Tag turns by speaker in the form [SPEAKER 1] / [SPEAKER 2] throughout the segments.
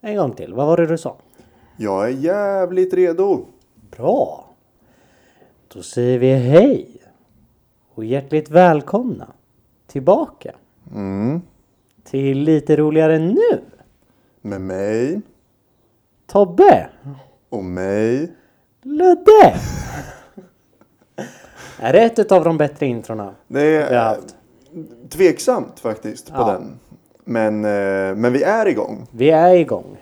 [SPEAKER 1] En gång till, vad var det du sa?
[SPEAKER 2] Jag är jävligt redo.
[SPEAKER 1] Bra! Då säger vi hej! Och hjärtligt välkomna tillbaka
[SPEAKER 2] Mm.
[SPEAKER 1] till Lite roligare nu!
[SPEAKER 2] Med mig
[SPEAKER 1] Tobbe!
[SPEAKER 2] och mig.
[SPEAKER 1] Ludde! Är det ett av de bättre introna?
[SPEAKER 2] Det är
[SPEAKER 1] Vi har
[SPEAKER 2] Eh.
[SPEAKER 1] haft.
[SPEAKER 2] tveksamt faktiskt på
[SPEAKER 1] Ja.
[SPEAKER 2] den. Men, eh, men vi är igång.
[SPEAKER 1] Vi är igång.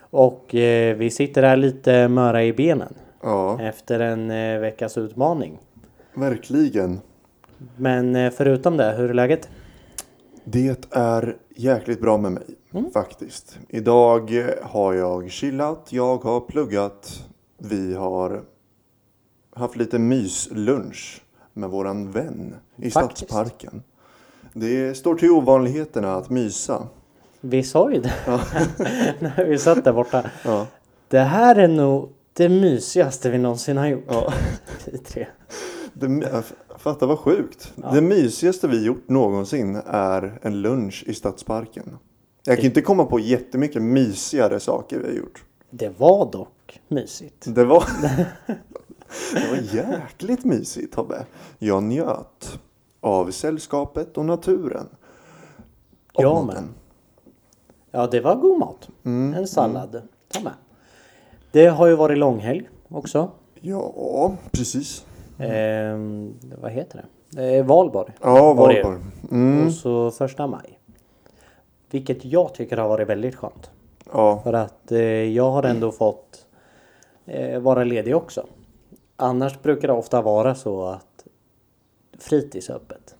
[SPEAKER 1] Och eh, vi sitter här lite möra i benen.
[SPEAKER 2] Ja,
[SPEAKER 1] Efter en eh, veckas utmaning.
[SPEAKER 2] verkligen.
[SPEAKER 1] Men eh, förutom det, hur är läget?
[SPEAKER 2] Det är jäkligt bra med mig faktiskt. Idag har jag chillat, jag har pluggat. Vi har haft lite myslunch med våran vän i
[SPEAKER 1] Faktiskt.
[SPEAKER 2] Stadsparken. Det står till ovanligheterna att mysa.
[SPEAKER 1] Vi sa ju det när vi satt där borta.
[SPEAKER 2] Ja.
[SPEAKER 1] Det här är nog det mysigaste vi någonsin har gjort.
[SPEAKER 2] Ja.
[SPEAKER 1] Vi tre.
[SPEAKER 2] Det, jag fattar vad sjukt. Det mysigaste vi gjort någonsin är en lunch i Stadsparken. Jag kan inte komma på jättemycket mysigare saker vi har gjort.
[SPEAKER 1] Det var dock mysigt.
[SPEAKER 2] Det var, det var jäkligt mysigt Tobbe. Jag njöt av sällskapet och naturen. Och
[SPEAKER 1] Jag
[SPEAKER 2] maten. Mm,
[SPEAKER 1] med. Ja, det var god mat. en sallad. Ta med. Det har ju varit långhelg också.
[SPEAKER 2] Ja, precis.
[SPEAKER 1] Ehm, vad heter det? Eh, Valborg.
[SPEAKER 2] Mm. Ja,
[SPEAKER 1] Var det?
[SPEAKER 2] Valborg. Mm.
[SPEAKER 1] Och så första maj. Vilket jag tycker har varit väldigt skönt.
[SPEAKER 2] Ja,
[SPEAKER 1] För att eh, jag har ändå fått eh, vara ledig också. Annars brukar det ofta vara så att fritids är öppet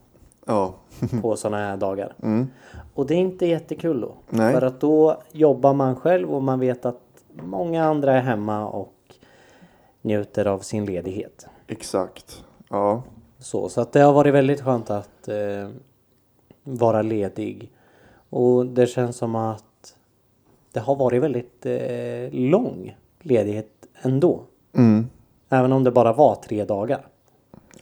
[SPEAKER 2] ja,
[SPEAKER 1] på sådana här dagar. Och det är inte jättekul då.
[SPEAKER 2] Mm. Nej.
[SPEAKER 1] För att då jobbar man själv och man vet att många andra är hemma och njuter av sin ledighet.
[SPEAKER 2] exakt. Ja,
[SPEAKER 1] Så, så att det har varit väldigt skönt att eh, vara ledig. Och det känns som att det har varit väldigt eh, lång ledighet ändå.
[SPEAKER 2] mm.
[SPEAKER 1] Även om det bara var tre dagar.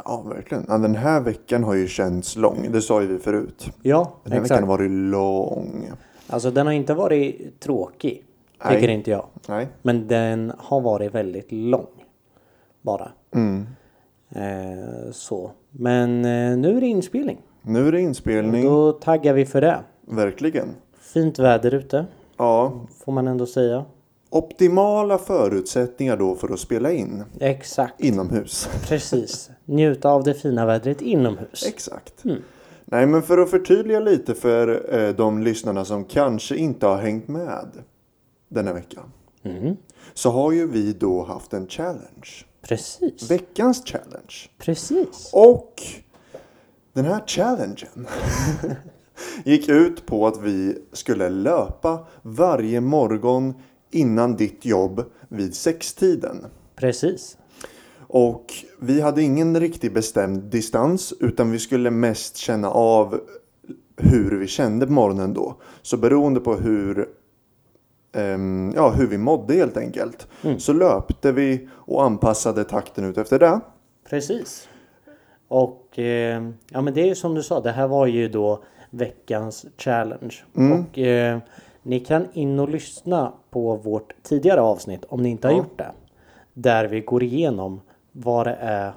[SPEAKER 2] ja verkligen. Ja, den här veckan har ju känts lång. Det sa ju vi förut.
[SPEAKER 1] Ja,
[SPEAKER 2] Den här
[SPEAKER 1] exakt.
[SPEAKER 2] veckan har varit lång.
[SPEAKER 1] Alltså den har inte varit tråkig.
[SPEAKER 2] Nej.
[SPEAKER 1] Tycker inte jag.
[SPEAKER 2] Nej.
[SPEAKER 1] Men den har varit väldigt lång. Bara.
[SPEAKER 2] Mm.
[SPEAKER 1] Eh, så. Men eh, nu är det inspelning.
[SPEAKER 2] Nu är det inspelning.
[SPEAKER 1] Då taggar vi för det.
[SPEAKER 2] Verkligen.
[SPEAKER 1] Fint väder ute.
[SPEAKER 2] Ja,
[SPEAKER 1] Får man ändå säga.
[SPEAKER 2] optimala förutsättningar då för att spela in
[SPEAKER 1] Exakt.
[SPEAKER 2] inomhus.
[SPEAKER 1] Precis. Njuta av det fina vädret inomhus.
[SPEAKER 2] Exakt. Nej, men för att förtydliga lite för eh, de lyssnarna som kanske inte har hängt med denna vecka.
[SPEAKER 1] Mm.
[SPEAKER 2] Så har ju vi då haft en challenge.
[SPEAKER 1] Precis.
[SPEAKER 2] Veckans challenge.
[SPEAKER 1] Precis.
[SPEAKER 2] Och den här challengen gick ut på att vi skulle löpa varje morgon innan ditt jobb vid sextiden.
[SPEAKER 1] Precis.
[SPEAKER 2] Och vi hade ingen riktigt bestämd distans utan vi skulle mest känna av hur vi kände på morgonen då. Så beroende på hur, ehm, ja, hur vi mådde helt enkelt så löpte vi och anpassade takten ut efter det.
[SPEAKER 1] Precis. Och eh, ja, men det är ju som du sa, det här var ju då veckans challenge. Och eh, ni kan in och lyssna på vårt tidigare avsnitt om ni inte har gjort det. Där vi går igenom vad det är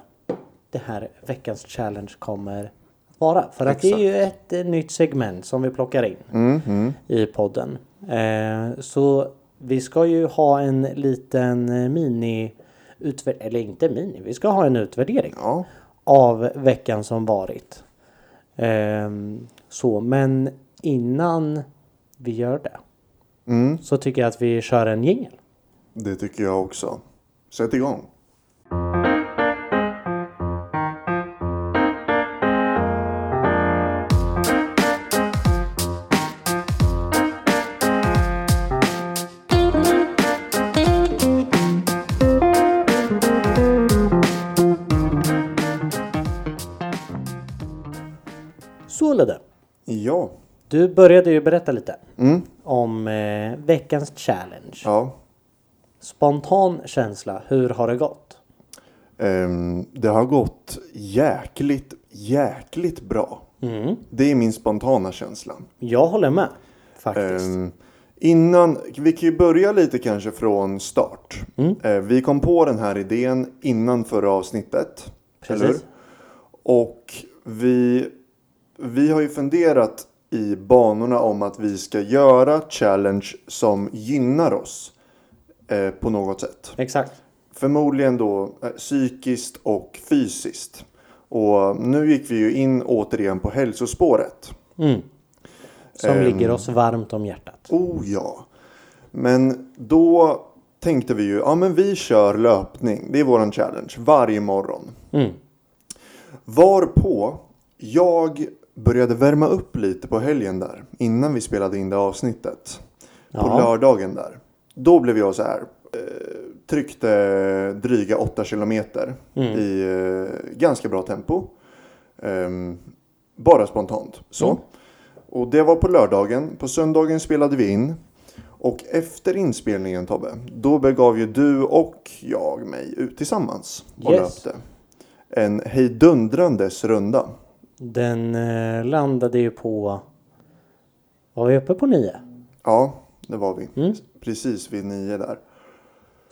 [SPEAKER 1] det här veckans challenge kommer vara. För att det är ju ett eh, nytt segment som vi plockar in
[SPEAKER 2] Mm,
[SPEAKER 1] i podden. Eh, så vi ska ju ha en liten eh, mini utvärdering, eller inte mini, vi ska ha en utvärdering
[SPEAKER 2] Ja,
[SPEAKER 1] av veckan som varit. Ehm, så, men innan vi gör det
[SPEAKER 2] Mm.
[SPEAKER 1] så tycker jag att vi kör en jingel.
[SPEAKER 2] det tycker jag också. Sätt igång.
[SPEAKER 1] Så Ludde,
[SPEAKER 2] Ja,
[SPEAKER 1] du började ju berätta lite om eh, veckans challenge.
[SPEAKER 2] Mm. ja.
[SPEAKER 1] Spontan känsla, hur har det gått?
[SPEAKER 2] Ehm, det har gått jäkligt, jäkligt Mm. bra. Det är min spontana känsla.
[SPEAKER 1] Jag håller med faktiskt.
[SPEAKER 2] Ehm, Innan, vi kan ju börja lite kanske från start.
[SPEAKER 1] Mm.
[SPEAKER 2] Eh, Vi kom på den här idén innan förra avsnittet.
[SPEAKER 1] Precis.
[SPEAKER 2] eller hur? Och vi, vi har ju funderat i banorna om att vi ska göra challenge som gynnar oss eh, på något sätt.
[SPEAKER 1] Exakt.
[SPEAKER 2] Förmodligen då eh, psykiskt och fysiskt. Och nu gick vi ju in återigen på hälsospåret.
[SPEAKER 1] Mm. Som
[SPEAKER 2] Ehm.
[SPEAKER 1] ligger oss varmt om hjärtat.
[SPEAKER 2] Oh ja. Men då tänkte vi ju, ja men vi kör löpning. Det är våran challenge varje morgon.
[SPEAKER 1] Mm.
[SPEAKER 2] Varpå jag började värma upp lite på helgen där. Innan vi spelade in det avsnittet. På
[SPEAKER 1] Ja.
[SPEAKER 2] lördagen där. Då blev jag så här. Eh, tryckte dryga 8 kilometer i eh, ganska bra tempo. Ehm, bara spontant. Så.
[SPEAKER 1] Mm.
[SPEAKER 2] Och det var på lördagen. På söndagen spelade vi in. Och efter inspelningen Tobbe, då begav ju du och jag mig ut tillsammans och
[SPEAKER 1] Yes.
[SPEAKER 2] löpte. En hejdundrandes runda.
[SPEAKER 1] Den eh, landade ju på... Var vi uppe på nio?
[SPEAKER 2] Ja, det var vi.
[SPEAKER 1] Mm.
[SPEAKER 2] Precis vid nio där.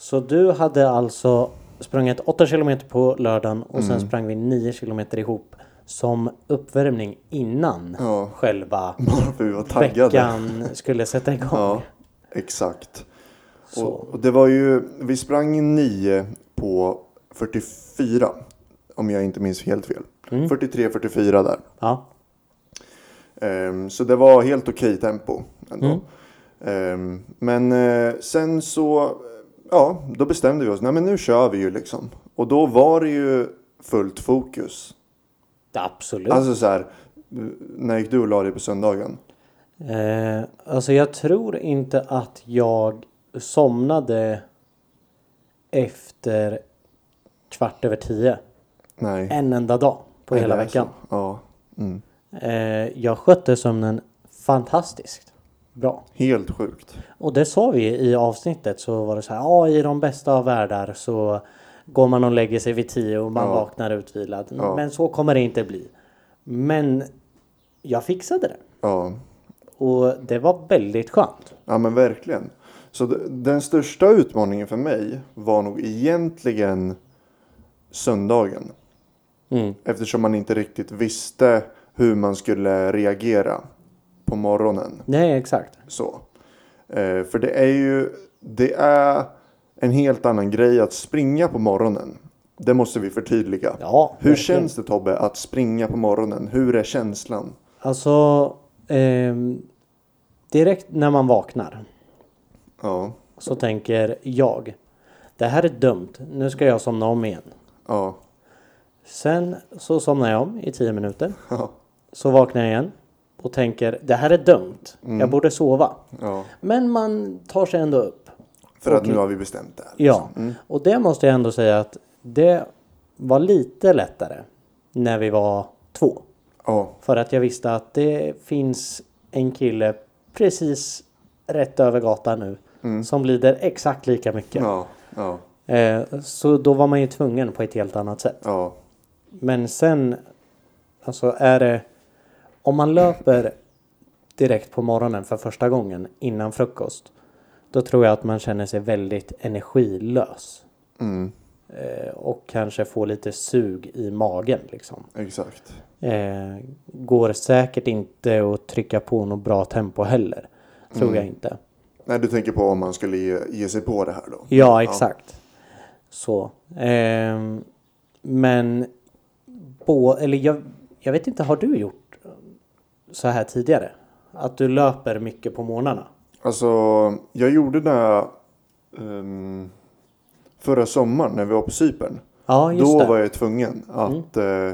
[SPEAKER 1] Så du hade alltså sprungit 8 km på lördagen och sen
[SPEAKER 2] Mm.
[SPEAKER 1] sprang vi 9 km ihop som uppvärmning innan
[SPEAKER 2] Ja.
[SPEAKER 1] själva
[SPEAKER 2] Bara för vi var taggade.
[SPEAKER 1] veckan skulle sätta igång.
[SPEAKER 2] Ja, exakt.
[SPEAKER 1] Så.
[SPEAKER 2] Och, och det var ju, vi sprang i 9 på 44. Om jag inte minns helt fel.
[SPEAKER 1] Mm.
[SPEAKER 2] 43-44 där.
[SPEAKER 1] Ja.
[SPEAKER 2] Ehm, så det var helt okej tempo ändå. Ehm, men eh, sen så, ja, då bestämde vi oss. Nej men nu kör vi ju liksom. Och då var det ju fullt fokus.
[SPEAKER 1] Absolut. Alltså,
[SPEAKER 2] Alltså så här, när gick du och la dig på söndagen?
[SPEAKER 1] eh, alltså jag tror inte att jag somnade efter kvart över tio.
[SPEAKER 2] Nej.
[SPEAKER 1] En enda dag Eh, på
[SPEAKER 2] Är
[SPEAKER 1] hela
[SPEAKER 2] det
[SPEAKER 1] veckan.
[SPEAKER 2] så? Ja. Mm.
[SPEAKER 1] Eh, jag skötte sömnen fantastiskt bra.
[SPEAKER 2] Helt sjukt.
[SPEAKER 1] Och det sa vi i avsnittet så var det så här, ja i de bästa av världar så går man och lägger sig vid tio och man
[SPEAKER 2] Ja.
[SPEAKER 1] vaknar utvilad.
[SPEAKER 2] Ja.
[SPEAKER 1] Men så kommer det inte bli. Men jag fixade det.
[SPEAKER 2] Ja.
[SPEAKER 1] Och det var väldigt skönt.
[SPEAKER 2] Ja men verkligen. Så d- den största utmaningen för mig var nog egentligen söndagen.
[SPEAKER 1] Mm.
[SPEAKER 2] Eftersom man inte riktigt visste hur man skulle reagera på morgonen.
[SPEAKER 1] Nej exakt.
[SPEAKER 2] Så. Eh, för det är ju det är en helt annan grej att springa på morgonen. Det måste vi förtydliga.
[SPEAKER 1] Ja.
[SPEAKER 2] Hur
[SPEAKER 1] verkligen.
[SPEAKER 2] känns det Tobbe att springa på morgonen? Hur är känslan?
[SPEAKER 1] Alltså ehm, direkt när man vaknar
[SPEAKER 2] Ja,
[SPEAKER 1] så tänker jag det här är dumt. Nu ska jag somna om igen.
[SPEAKER 2] ja,
[SPEAKER 1] Sen så somnar jag om i tio minuter.
[SPEAKER 2] ja,
[SPEAKER 1] Så vaknar jag igen och tänker det här är dumt. Jag borde sova.
[SPEAKER 2] ja.
[SPEAKER 1] Men man tar sig ändå upp.
[SPEAKER 2] För att nu har vi bestämt det. här,
[SPEAKER 1] Ja,
[SPEAKER 2] liksom. Mm.
[SPEAKER 1] och det måste jag ändå säga att det var lite lättare när vi var två.
[SPEAKER 2] Ja,
[SPEAKER 1] För att jag visste att det finns en kille precis rätt över gatan nu som lider exakt lika mycket.
[SPEAKER 2] ja, ja.
[SPEAKER 1] Eh, så då var man ju tvungen på ett helt annat sätt.
[SPEAKER 2] Ja,
[SPEAKER 1] Men sen, alltså är det... Om man löper direkt på morgonen för första gången innan frukost. Då tror jag att man känner sig väldigt energilös.
[SPEAKER 2] mm,
[SPEAKER 1] Eh, och kanske får lite sug i magen liksom.
[SPEAKER 2] exakt.
[SPEAKER 1] Eh, går säkert inte att trycka på något bra tempo heller. Tror jag inte.
[SPEAKER 2] Nej, du tänker på om man skulle ge, ge sig på det här då?
[SPEAKER 1] Ja, exakt. Så. ehm, men... På, eller jag, jag vet inte, har du gjort så här tidigare? Att du löper mycket på morgnarna?
[SPEAKER 2] Alltså, jag gjorde det ehm, förra sommaren när vi var på Cypern.
[SPEAKER 1] Ja, just
[SPEAKER 2] då
[SPEAKER 1] det. Mm.
[SPEAKER 2] var jag tvungen att eh,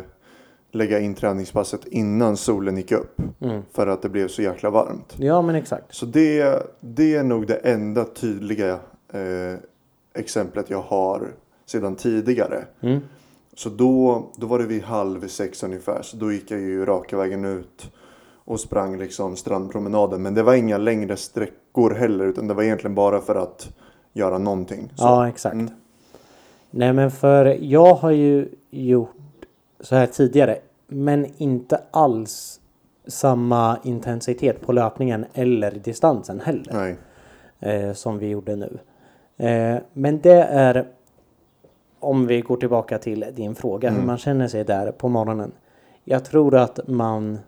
[SPEAKER 2] lägga in träningspasset innan solen gick upp.
[SPEAKER 1] Mm.
[SPEAKER 2] För att det blev så jäkla varmt.
[SPEAKER 1] Ja, men exakt.
[SPEAKER 2] Så det, det är nog det enda tydliga eh, exemplet jag har sedan tidigare.
[SPEAKER 1] Mm.
[SPEAKER 2] Så då, då var det vid halv sex ungefär. Så då gick jag ju raka vägen ut och sprang liksom strandpromenaden. Men det var inga längre sträckor heller. Utan det var egentligen bara för att göra någonting. Så,
[SPEAKER 1] Ja, exakt.
[SPEAKER 2] Mm.
[SPEAKER 1] Nej, men för jag har ju gjort så här tidigare. Men inte alls samma intensitet på löpningen eller distansen heller.
[SPEAKER 2] Nej.
[SPEAKER 1] eh, som vi gjorde nu. Eh, men det är om vi går tillbaka till din fråga hur man känner sig där på morgonen. Jag tror att man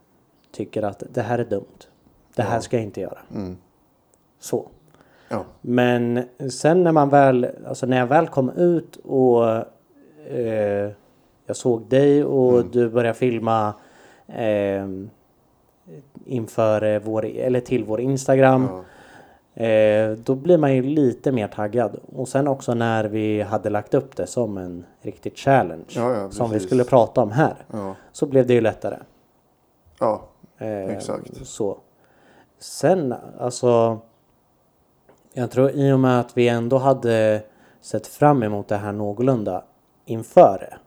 [SPEAKER 1] tycker att det här är dumt. Det här ska jag inte göra. Så.
[SPEAKER 2] Mm. Ja.
[SPEAKER 1] Men sen när man väl, alltså när jag väl kom ut och eh, jag såg dig och du började filma eh, inför eh, vår, eller till vår Instagram. Eh, då blir man ju lite mer taggad. Och sen också när vi hade lagt upp det som en riktig challenge.
[SPEAKER 2] Ja, ja,
[SPEAKER 1] som vi
[SPEAKER 2] precis.
[SPEAKER 1] skulle prata om här.
[SPEAKER 2] Ja.
[SPEAKER 1] Så blev det ju lättare.
[SPEAKER 2] Ja.
[SPEAKER 1] Eh,
[SPEAKER 2] Exakt.
[SPEAKER 1] Så. Sen alltså. Jag tror i och med att vi ändå hade sett fram emot det här någorlunda inför det.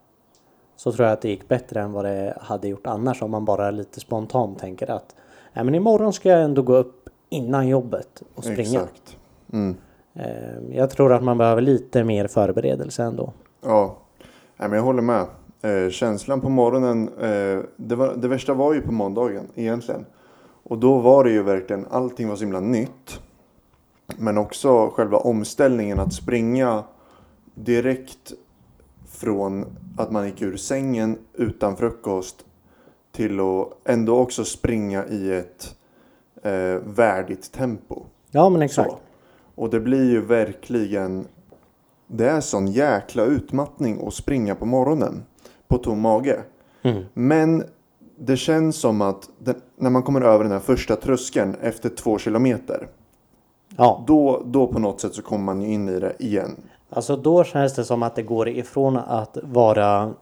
[SPEAKER 1] Så tror jag att det gick bättre än vad det hade gjort annars om man bara lite spontant tänker att Nej men imorgon ska jag ändå gå upp innan jobbet och springa.
[SPEAKER 2] Exakt. Mm.
[SPEAKER 1] Eh, Jag tror att man behöver lite mer förberedelse ändå.
[SPEAKER 2] Ja, Nej, men jag håller med. Eh, känslan på morgonen, eh, det, var, det värsta var ju på måndagen egentligen. Och då var det ju verkligen, allting var så himla nytt. Men också själva omställningen att springa direkt från att man gick ur sängen utan frukost till att ändå också springa i ett eh, värdigt tempo.
[SPEAKER 1] Ja men exakt.
[SPEAKER 2] Så. Och det blir ju verkligen... Det är sån jäkla utmattning att springa på morgonen på tom mage.
[SPEAKER 1] Mm.
[SPEAKER 2] Men det känns som att den, när man kommer över den här första tröskeln efter två kilometer.
[SPEAKER 1] Ja,
[SPEAKER 2] Då, då på något sätt så kommer man ju in i det igen.
[SPEAKER 1] alltså då känns det som att det går ifrån att vara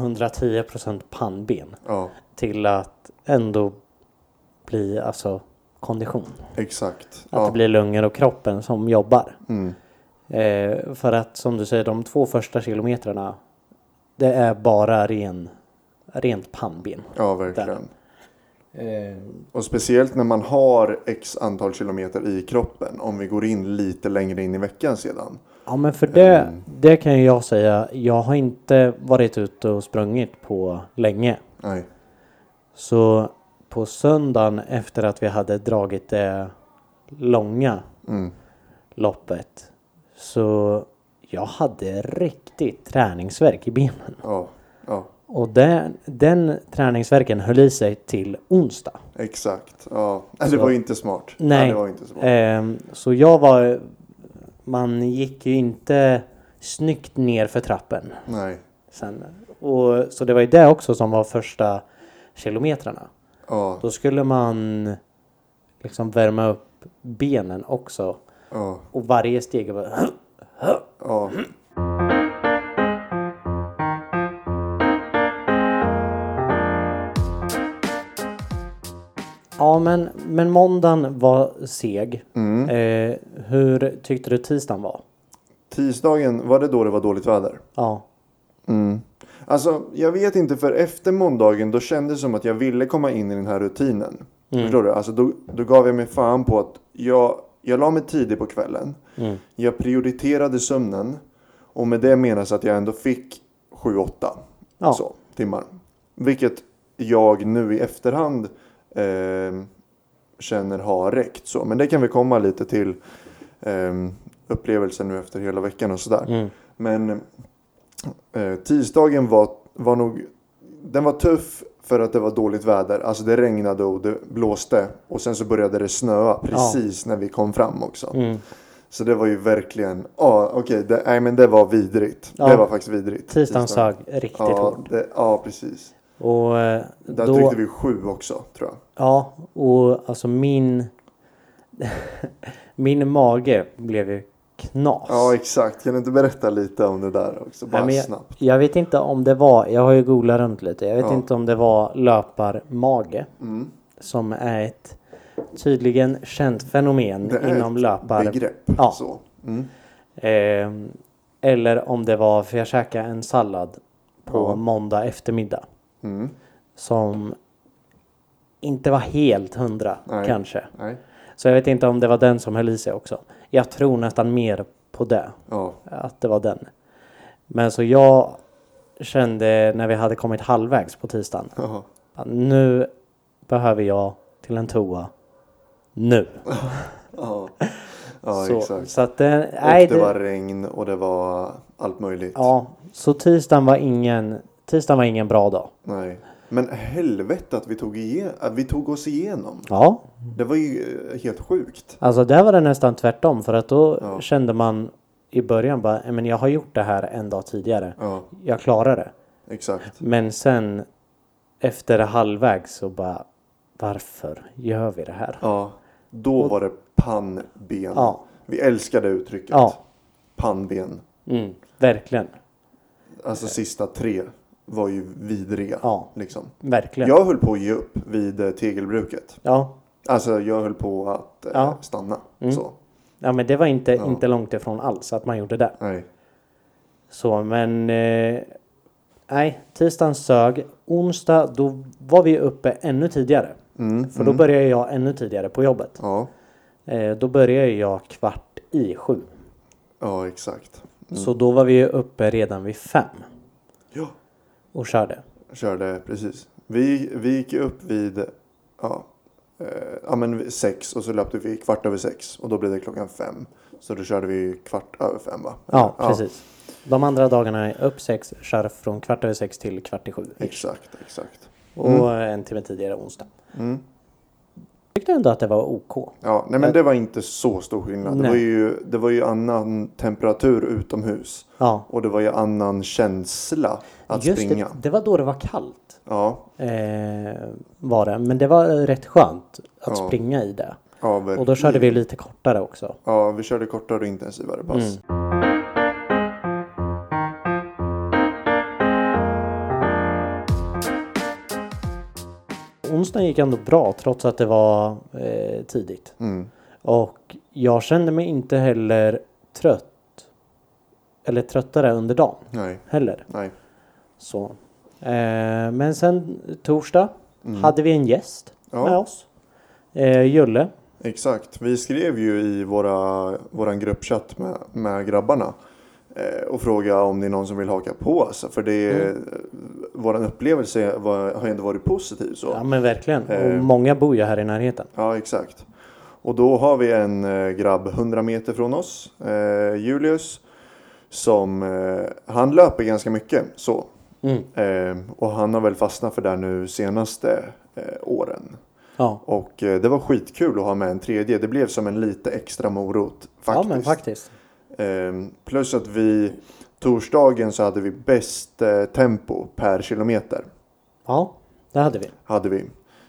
[SPEAKER 1] 110% pannben
[SPEAKER 2] Ja,
[SPEAKER 1] till att ändå bli alltså kondition.
[SPEAKER 2] exakt.
[SPEAKER 1] Att det
[SPEAKER 2] Ja,
[SPEAKER 1] blir lungor och kroppen som jobbar.
[SPEAKER 2] mm,
[SPEAKER 1] Eh, för att som du säger, de två första kilometrarna det är bara ren, rent pannben.
[SPEAKER 2] ja verkligen.
[SPEAKER 1] Eh,
[SPEAKER 2] Och speciellt när man har x antal kilometer i kroppen. Om vi går in lite längre in i veckan sedan.
[SPEAKER 1] Ja men för det, det kan ju jag säga. Jag har inte varit ute och sprungit på länge.
[SPEAKER 2] Nej,
[SPEAKER 1] Så på söndagen efter att vi hade dragit det långa
[SPEAKER 2] mm,
[SPEAKER 1] loppet. Så jag hade riktigt träningsverk i benen.
[SPEAKER 2] ja, ja,
[SPEAKER 1] Och den, den träningsverken höll i sig till onsdag.
[SPEAKER 2] exakt. Ja. Nej, Det var ju inte smart.
[SPEAKER 1] Nej.
[SPEAKER 2] det var ju inte smart.
[SPEAKER 1] Ehm, så jag var... Man gick ju inte snyggt ner för trappen.
[SPEAKER 2] Nej.
[SPEAKER 1] Sen. Och, så det var ju det också som var första kilometrarna.
[SPEAKER 2] Ja,
[SPEAKER 1] Då skulle man liksom värma upp benen också.
[SPEAKER 2] ja,
[SPEAKER 1] Och varje steg var...
[SPEAKER 2] ja.
[SPEAKER 1] Ja men, men måndagen var seg.
[SPEAKER 2] Mm.
[SPEAKER 1] Eh, hur tyckte du tisdagen var?
[SPEAKER 2] Tisdagen, var det då det var dåligt väder?
[SPEAKER 1] Ja.
[SPEAKER 2] Mm. Alltså, jag vet inte, för efter måndagen då kändes det som att jag ville komma in i den här rutinen.
[SPEAKER 1] Mm.
[SPEAKER 2] Förstår du? Alltså, då, då gav jag mig fan på att jag, jag la mig tidigt på kvällen.
[SPEAKER 1] Mm.
[SPEAKER 2] Jag prioriterade sömnen. Och med det menas att jag ändå fick 7-8
[SPEAKER 1] Ja.
[SPEAKER 2] så, timmar. Vilket jag nu i efterhand eh, känner har räckt. Så. Men det kan vi komma lite till eh, upplevelsen nu efter hela veckan och sådär.
[SPEAKER 1] Mm.
[SPEAKER 2] Men eh, tisdagen var, var nog den var tuff för att det var dåligt väder. Alltså det regnade och det blåste. Och sen så började det snöa precis när vi kom fram också.
[SPEAKER 1] Mm.
[SPEAKER 2] Så det var ju verkligen, ja okej, det- nej men det var vidrigt.
[SPEAKER 1] Ja.
[SPEAKER 2] Det var faktiskt vidrigt.
[SPEAKER 1] Tisdagen
[SPEAKER 2] Tisdag.
[SPEAKER 1] sög riktigt
[SPEAKER 2] ja,
[SPEAKER 1] hårt.
[SPEAKER 2] det, ja, precis.
[SPEAKER 1] Och eh,
[SPEAKER 2] Där
[SPEAKER 1] då...
[SPEAKER 2] tryckte vi sju också tror jag.
[SPEAKER 1] Ja, och alltså min... min mage blev ju knas.
[SPEAKER 2] Ja exakt, kan du inte berätta lite om det där också? Bara
[SPEAKER 1] Nej, men jag,
[SPEAKER 2] snabbt.
[SPEAKER 1] jag vet inte om det var, jag har ju googlat runt lite, jag vet
[SPEAKER 2] Ja.
[SPEAKER 1] inte om det var löparmage.
[SPEAKER 2] Mm.
[SPEAKER 1] Som är ett tydligen känt fenomen
[SPEAKER 2] Det är
[SPEAKER 1] inom
[SPEAKER 2] ett
[SPEAKER 1] löpar...
[SPEAKER 2] Begrepp.
[SPEAKER 1] Ja.
[SPEAKER 2] Så. Mm.
[SPEAKER 1] Ehm, eller om det var, för jag käkade en sallad på
[SPEAKER 2] Ja.
[SPEAKER 1] måndag eftermiddag.
[SPEAKER 2] Mm.
[SPEAKER 1] Som inte var helt hundra
[SPEAKER 2] Nej.
[SPEAKER 1] kanske.
[SPEAKER 2] Nej.
[SPEAKER 1] Så jag vet inte om det var den som höll i sig också. Jag tror nästan mer på det.
[SPEAKER 2] Ja.
[SPEAKER 1] Att det var den. Men så jag kände när vi hade kommit halvvägs på tisdagen.
[SPEAKER 2] Ja.
[SPEAKER 1] att Nu behöver jag till en toa nu.
[SPEAKER 2] Ja, ja
[SPEAKER 1] så,
[SPEAKER 2] exakt.
[SPEAKER 1] Så att det, nej,
[SPEAKER 2] Och
[SPEAKER 1] det
[SPEAKER 2] det var regn och det var allt möjligt.
[SPEAKER 1] Ja, så tisdagen var ingen, tisdagen var ingen bra dag.
[SPEAKER 2] Nej. Men helvete att vi tog, igen, att vi tog oss igenom.
[SPEAKER 1] Ja,
[SPEAKER 2] Det var ju eh, helt sjukt.
[SPEAKER 1] alltså där var det nästan tvärtom för att då
[SPEAKER 2] Ja.
[SPEAKER 1] kände man i början bara, "Nej, men jag har gjort det här en dag tidigare.
[SPEAKER 2] Ja,
[SPEAKER 1] Jag klarar det.
[SPEAKER 2] exakt.
[SPEAKER 1] Men sen efter halvvägs så bara, varför gör vi det här?
[SPEAKER 2] Ja, då var det pannben.
[SPEAKER 1] Ja.
[SPEAKER 2] Vi älskar det uttrycket.
[SPEAKER 1] Ja.
[SPEAKER 2] Pannben.
[SPEAKER 1] Mm, verkligen,
[SPEAKER 2] Alltså sista tre var ju vidriga.
[SPEAKER 1] Eh. Ja.
[SPEAKER 2] Liksom.
[SPEAKER 1] verkligen.
[SPEAKER 2] Jag höll på att ge upp vid eh, tegelbruket.
[SPEAKER 1] Ja,
[SPEAKER 2] Alltså jag höll på att eh,
[SPEAKER 1] Ja.
[SPEAKER 2] stanna.
[SPEAKER 1] Mm.
[SPEAKER 2] Så.
[SPEAKER 1] ja men det var inte, inte långt ifrån alls att man gjorde det.
[SPEAKER 2] Nej.
[SPEAKER 1] Så men... Eh, nej, tisdagen sög. Onsdag då var vi uppe ännu tidigare.
[SPEAKER 2] Mm.
[SPEAKER 1] För då började jag ännu tidigare på jobbet.
[SPEAKER 2] Ja.
[SPEAKER 1] Eh, då började jag kvart i sju.
[SPEAKER 2] ja, exakt.
[SPEAKER 1] Så då var vi ju uppe redan vid fem
[SPEAKER 2] Ja.
[SPEAKER 1] och körde.
[SPEAKER 2] Körde precis. Vi, vi gick ju upp vid ja, eh, ja, men vid sex och så löpte vi kvart över sex och då blev det klockan fem. Så då körde vi kvart över fem va?
[SPEAKER 1] Ja, precis. De andra dagarna är upp sex, kör från kvart över sex till kvart i sju.
[SPEAKER 2] Exakt, Mm. exakt. Mm.
[SPEAKER 1] Och en timme tidigare onsdag. Tyckte ändå att det var OK.
[SPEAKER 2] Ja, nej men det var inte så stor skillnad. Det
[SPEAKER 1] Eh. Nej.
[SPEAKER 2] var, ju, det var ju annan temperatur utomhus.
[SPEAKER 1] Ja.
[SPEAKER 2] Och det var ju annan känsla att
[SPEAKER 1] Just
[SPEAKER 2] springa.
[SPEAKER 1] det, det var då det var kallt.
[SPEAKER 2] Ja,
[SPEAKER 1] Eh, var det. Men det var rätt skönt att
[SPEAKER 2] Ja.
[SPEAKER 1] springa i det.
[SPEAKER 2] ja,
[SPEAKER 1] Och då
[SPEAKER 2] verkligen.
[SPEAKER 1] körde vi lite kortare också.
[SPEAKER 2] Ja, vi körde kortare och intensivare pass.
[SPEAKER 1] Onsdagen gick ändå bra trots att det var eh, tidigt.
[SPEAKER 2] Mm.
[SPEAKER 1] Och jag kände mig inte heller trött. Eller tröttare under dagen
[SPEAKER 2] Nej,
[SPEAKER 1] heller.
[SPEAKER 2] nej.
[SPEAKER 1] Så. Eh, men sen torsdag hade vi en gäst
[SPEAKER 2] Mm. Ja.
[SPEAKER 1] med oss. Eh, Julle.
[SPEAKER 2] Exakt. Vi skrev ju i våra, våran gruppchatt med, med grabbarna eh, och frågade om det är någon som vill haka på. Alltså, för det,
[SPEAKER 1] Mm.
[SPEAKER 2] våran upplevelse var, har ju ändå varit positiv. Så.
[SPEAKER 1] Ja men verkligen.
[SPEAKER 2] Eh.
[SPEAKER 1] Och många bor ju här i närheten.
[SPEAKER 2] Ja, exakt. Och då har vi en eh, grabb 100 meter från oss, eh, Julius, som eh, han löper ganska mycket så.
[SPEAKER 1] Mm.
[SPEAKER 2] Eh, och han har väl fastnat för det här nu senaste eh, åren.
[SPEAKER 1] Ja.
[SPEAKER 2] Och eh, det var skitkul att ha med en tredje. Det blev som en lite extra morot faktiskt.
[SPEAKER 1] Ja men faktiskt.
[SPEAKER 2] Eh, plus att vi torsdagen så hade vi bäst eh, tempo per kilometer
[SPEAKER 1] Ja, det hade vi.
[SPEAKER 2] hade vi.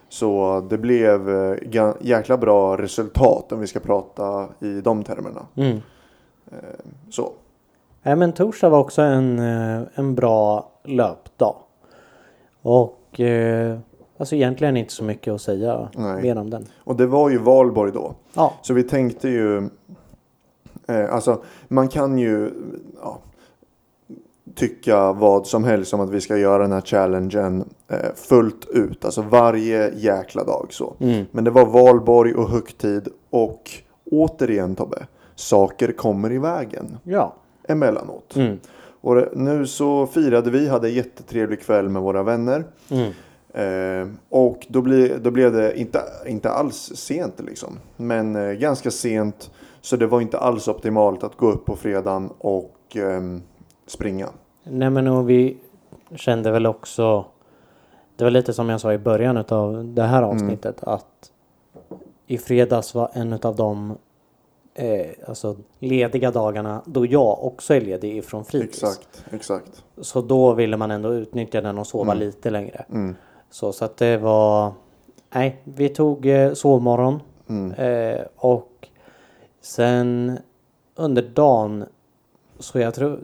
[SPEAKER 2] Så det blev eh, ga- jäkla bra resultat om vi ska prata i de termerna.
[SPEAKER 1] Mm.
[SPEAKER 2] Så.
[SPEAKER 1] Nej, men torsdag var också en, eh, en bra löpdag. Och eh, alltså egentligen inte så mycket att säga
[SPEAKER 2] Nej.
[SPEAKER 1] mer om den.
[SPEAKER 2] Och det var ju valborg då.
[SPEAKER 1] Ja,
[SPEAKER 2] Så vi tänkte ju... Eh, alltså man kan ju ja, tycka vad som helst om att vi ska göra den här challengen eh, fullt ut. Alltså varje jäkla dag så.
[SPEAKER 1] Mm.
[SPEAKER 2] Men det var valborg och högtid och återigen Tobbe, saker kommer i vägen
[SPEAKER 1] ja.
[SPEAKER 2] emellanåt.
[SPEAKER 1] Mm.
[SPEAKER 2] Och det- nu så firade vi, hade en jättetrevlig kväll med våra vänner.
[SPEAKER 1] Mm.
[SPEAKER 2] Eh, och då, bli, då blev det inte, inte alls sent liksom. Men eh, ganska sent. Så det var inte alls optimalt att gå upp på fredagen och ehm, springa.
[SPEAKER 1] Nej, men och vi kände väl också. Det var lite som jag sa i början av det här avsnittet att i fredags var en av de eh, alltså lediga dagarna då jag också är ledig ifrån fritids.
[SPEAKER 2] Exakt, exakt.
[SPEAKER 1] Så då ville man ändå utnyttja den och
[SPEAKER 2] Mm.
[SPEAKER 1] sova lite längre. Så, så att det var... Nej, vi tog eh, sovmorgon.
[SPEAKER 2] mm.
[SPEAKER 1] Eh, och sen under dagen så jag tror...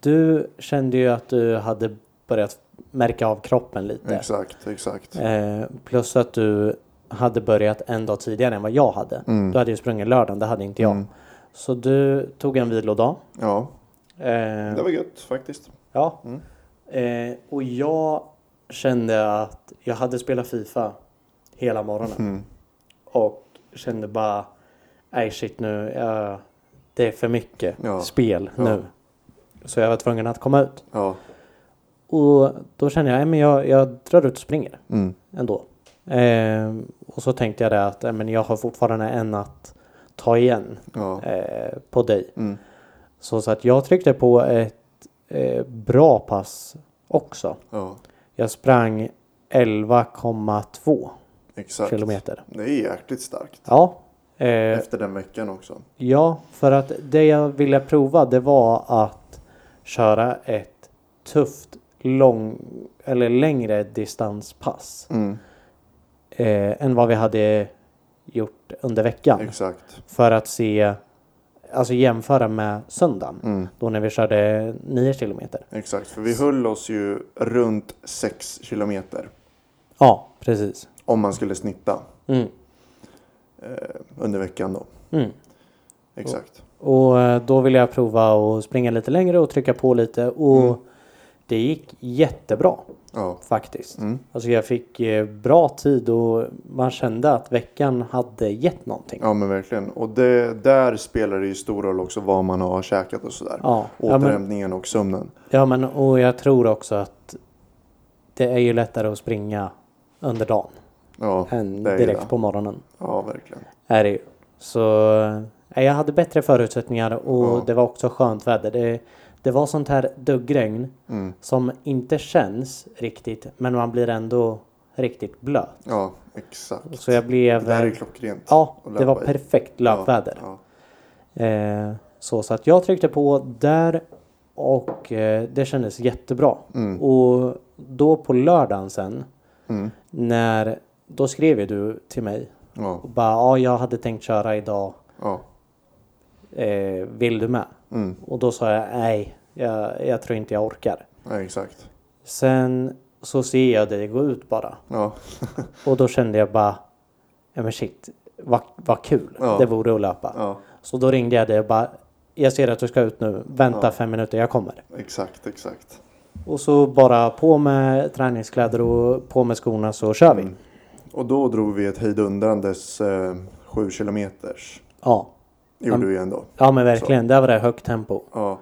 [SPEAKER 1] Du kände ju att du hade börjat märka av kroppen lite.
[SPEAKER 2] Exakt, exakt.
[SPEAKER 1] Eh, plus att du hade börjat en dag tidigare än vad jag
[SPEAKER 2] Mm.
[SPEAKER 1] hade. Du hade ju sprungit lördagen, det hade inte jag. Så du tog en vilodag.
[SPEAKER 2] Ja,
[SPEAKER 1] Eh,
[SPEAKER 2] det var gött faktiskt. Mm.
[SPEAKER 1] Ja. Eh, och jag kände att jag hade spelat Fifa hela morgonen.
[SPEAKER 2] Mm.
[SPEAKER 1] Och kände bara, nej shit nu, jag, det är för mycket
[SPEAKER 2] Ja.
[SPEAKER 1] spel nu. Så jag var tvungen att komma ut.
[SPEAKER 2] Ja,
[SPEAKER 1] Och då kände jag, nej men jag, jag drar ut och springer
[SPEAKER 2] mm.
[SPEAKER 1] ändå. Eh, och så tänkte jag det att eh, men jag har fortfarande en att ta igen
[SPEAKER 2] Ja.
[SPEAKER 1] eh, på dig.
[SPEAKER 2] Mm.
[SPEAKER 1] Så, så att jag tryckte på ett eh, bra pass också.
[SPEAKER 2] ja,
[SPEAKER 1] Jag sprang 11,2
[SPEAKER 2] exakt.
[SPEAKER 1] kilometer.
[SPEAKER 2] Det är jäkligt starkt.
[SPEAKER 1] Ja, eh,
[SPEAKER 2] Efter den veckan också.
[SPEAKER 1] ja, för att det jag ville prova det var att köra ett tufft lång eller längre distanspass
[SPEAKER 2] Mm.
[SPEAKER 1] eh, än vad vi hade gjort under veckan.
[SPEAKER 2] Exakt.
[SPEAKER 1] För att se, alltså jämföra med söndagen.
[SPEAKER 2] Mm.
[SPEAKER 1] Då när vi körde 9 kilometer.
[SPEAKER 2] Exakt, för vi höll oss ju runt 6 kilometer.
[SPEAKER 1] Ja, precis.
[SPEAKER 2] Om man skulle snitta
[SPEAKER 1] Mm.
[SPEAKER 2] eh, under veckan då.
[SPEAKER 1] Mm.
[SPEAKER 2] Exakt.
[SPEAKER 1] Och eh, då ville jag prova att springa lite längre och trycka på lite och
[SPEAKER 2] Mm.
[SPEAKER 1] det gick jättebra
[SPEAKER 2] Ja.
[SPEAKER 1] faktiskt.
[SPEAKER 2] Mm.
[SPEAKER 1] Alltså jag fick eh, bra tid och man kände att veckan hade gett någonting.
[SPEAKER 2] ja, men verkligen. Och det, där spelar det ju stor roll också vad man har käkat och sådär.
[SPEAKER 1] Ja, ja, men,
[SPEAKER 2] Återhämtningen och sömnen.
[SPEAKER 1] ja men och jag tror också att det är ju lättare att springa under dagen
[SPEAKER 2] Ja,
[SPEAKER 1] än
[SPEAKER 2] det är ju
[SPEAKER 1] direkt
[SPEAKER 2] det.
[SPEAKER 1] på morgonen.
[SPEAKER 2] ja verkligen.
[SPEAKER 1] Är det ju. Så eh, jag hade bättre förutsättningar och
[SPEAKER 2] Ja.
[SPEAKER 1] det var också skönt väder. Det, det var sånt här duggregn
[SPEAKER 2] Mm.
[SPEAKER 1] som inte känns riktigt men man blir ändå riktigt blöt.
[SPEAKER 2] Ja, exakt.
[SPEAKER 1] Så jag blev...
[SPEAKER 2] Det här är klockrent.
[SPEAKER 1] ja,
[SPEAKER 2] att
[SPEAKER 1] det var
[SPEAKER 2] löpa i.
[SPEAKER 1] perfekt löpväder.
[SPEAKER 2] Ja,
[SPEAKER 1] Eh, så, så att jag tryckte på där och eh, det kändes jättebra.
[SPEAKER 2] ja. Mm.
[SPEAKER 1] Och då på lördagen sen
[SPEAKER 2] Mm.
[SPEAKER 1] när då skrev ju du till mig
[SPEAKER 2] ja,
[SPEAKER 1] och bara ja, jag hade tänkt köra idag.
[SPEAKER 2] ja.
[SPEAKER 1] Eh, vill du med?
[SPEAKER 2] Mm.
[SPEAKER 1] Och då sa jag nej, jag, jag tror inte jag orkar.
[SPEAKER 2] ja exakt.
[SPEAKER 1] Sen så ser jag dig gå ut bara.
[SPEAKER 2] Ja,
[SPEAKER 1] Och då kände jag bara, ja men shit, vad, vad kul
[SPEAKER 2] Ja.
[SPEAKER 1] det vore att löpa.
[SPEAKER 2] ja,
[SPEAKER 1] Så då ringde jag dig och bara, jag ser att du ska ut nu, vänta
[SPEAKER 2] Ja.
[SPEAKER 1] fem minuter, jag kommer.
[SPEAKER 2] exakt, exakt.
[SPEAKER 1] Och så bara på med träningskläder och på med skorna så kör vi.
[SPEAKER 2] Mm. Och då drog vi ett hejdundrandes eh, sju kilometers.
[SPEAKER 1] Ja.
[SPEAKER 2] Gjorde
[SPEAKER 1] Mm.
[SPEAKER 2] vi ändå.
[SPEAKER 1] ja, men verkligen, där var det högt tempo
[SPEAKER 2] Ja.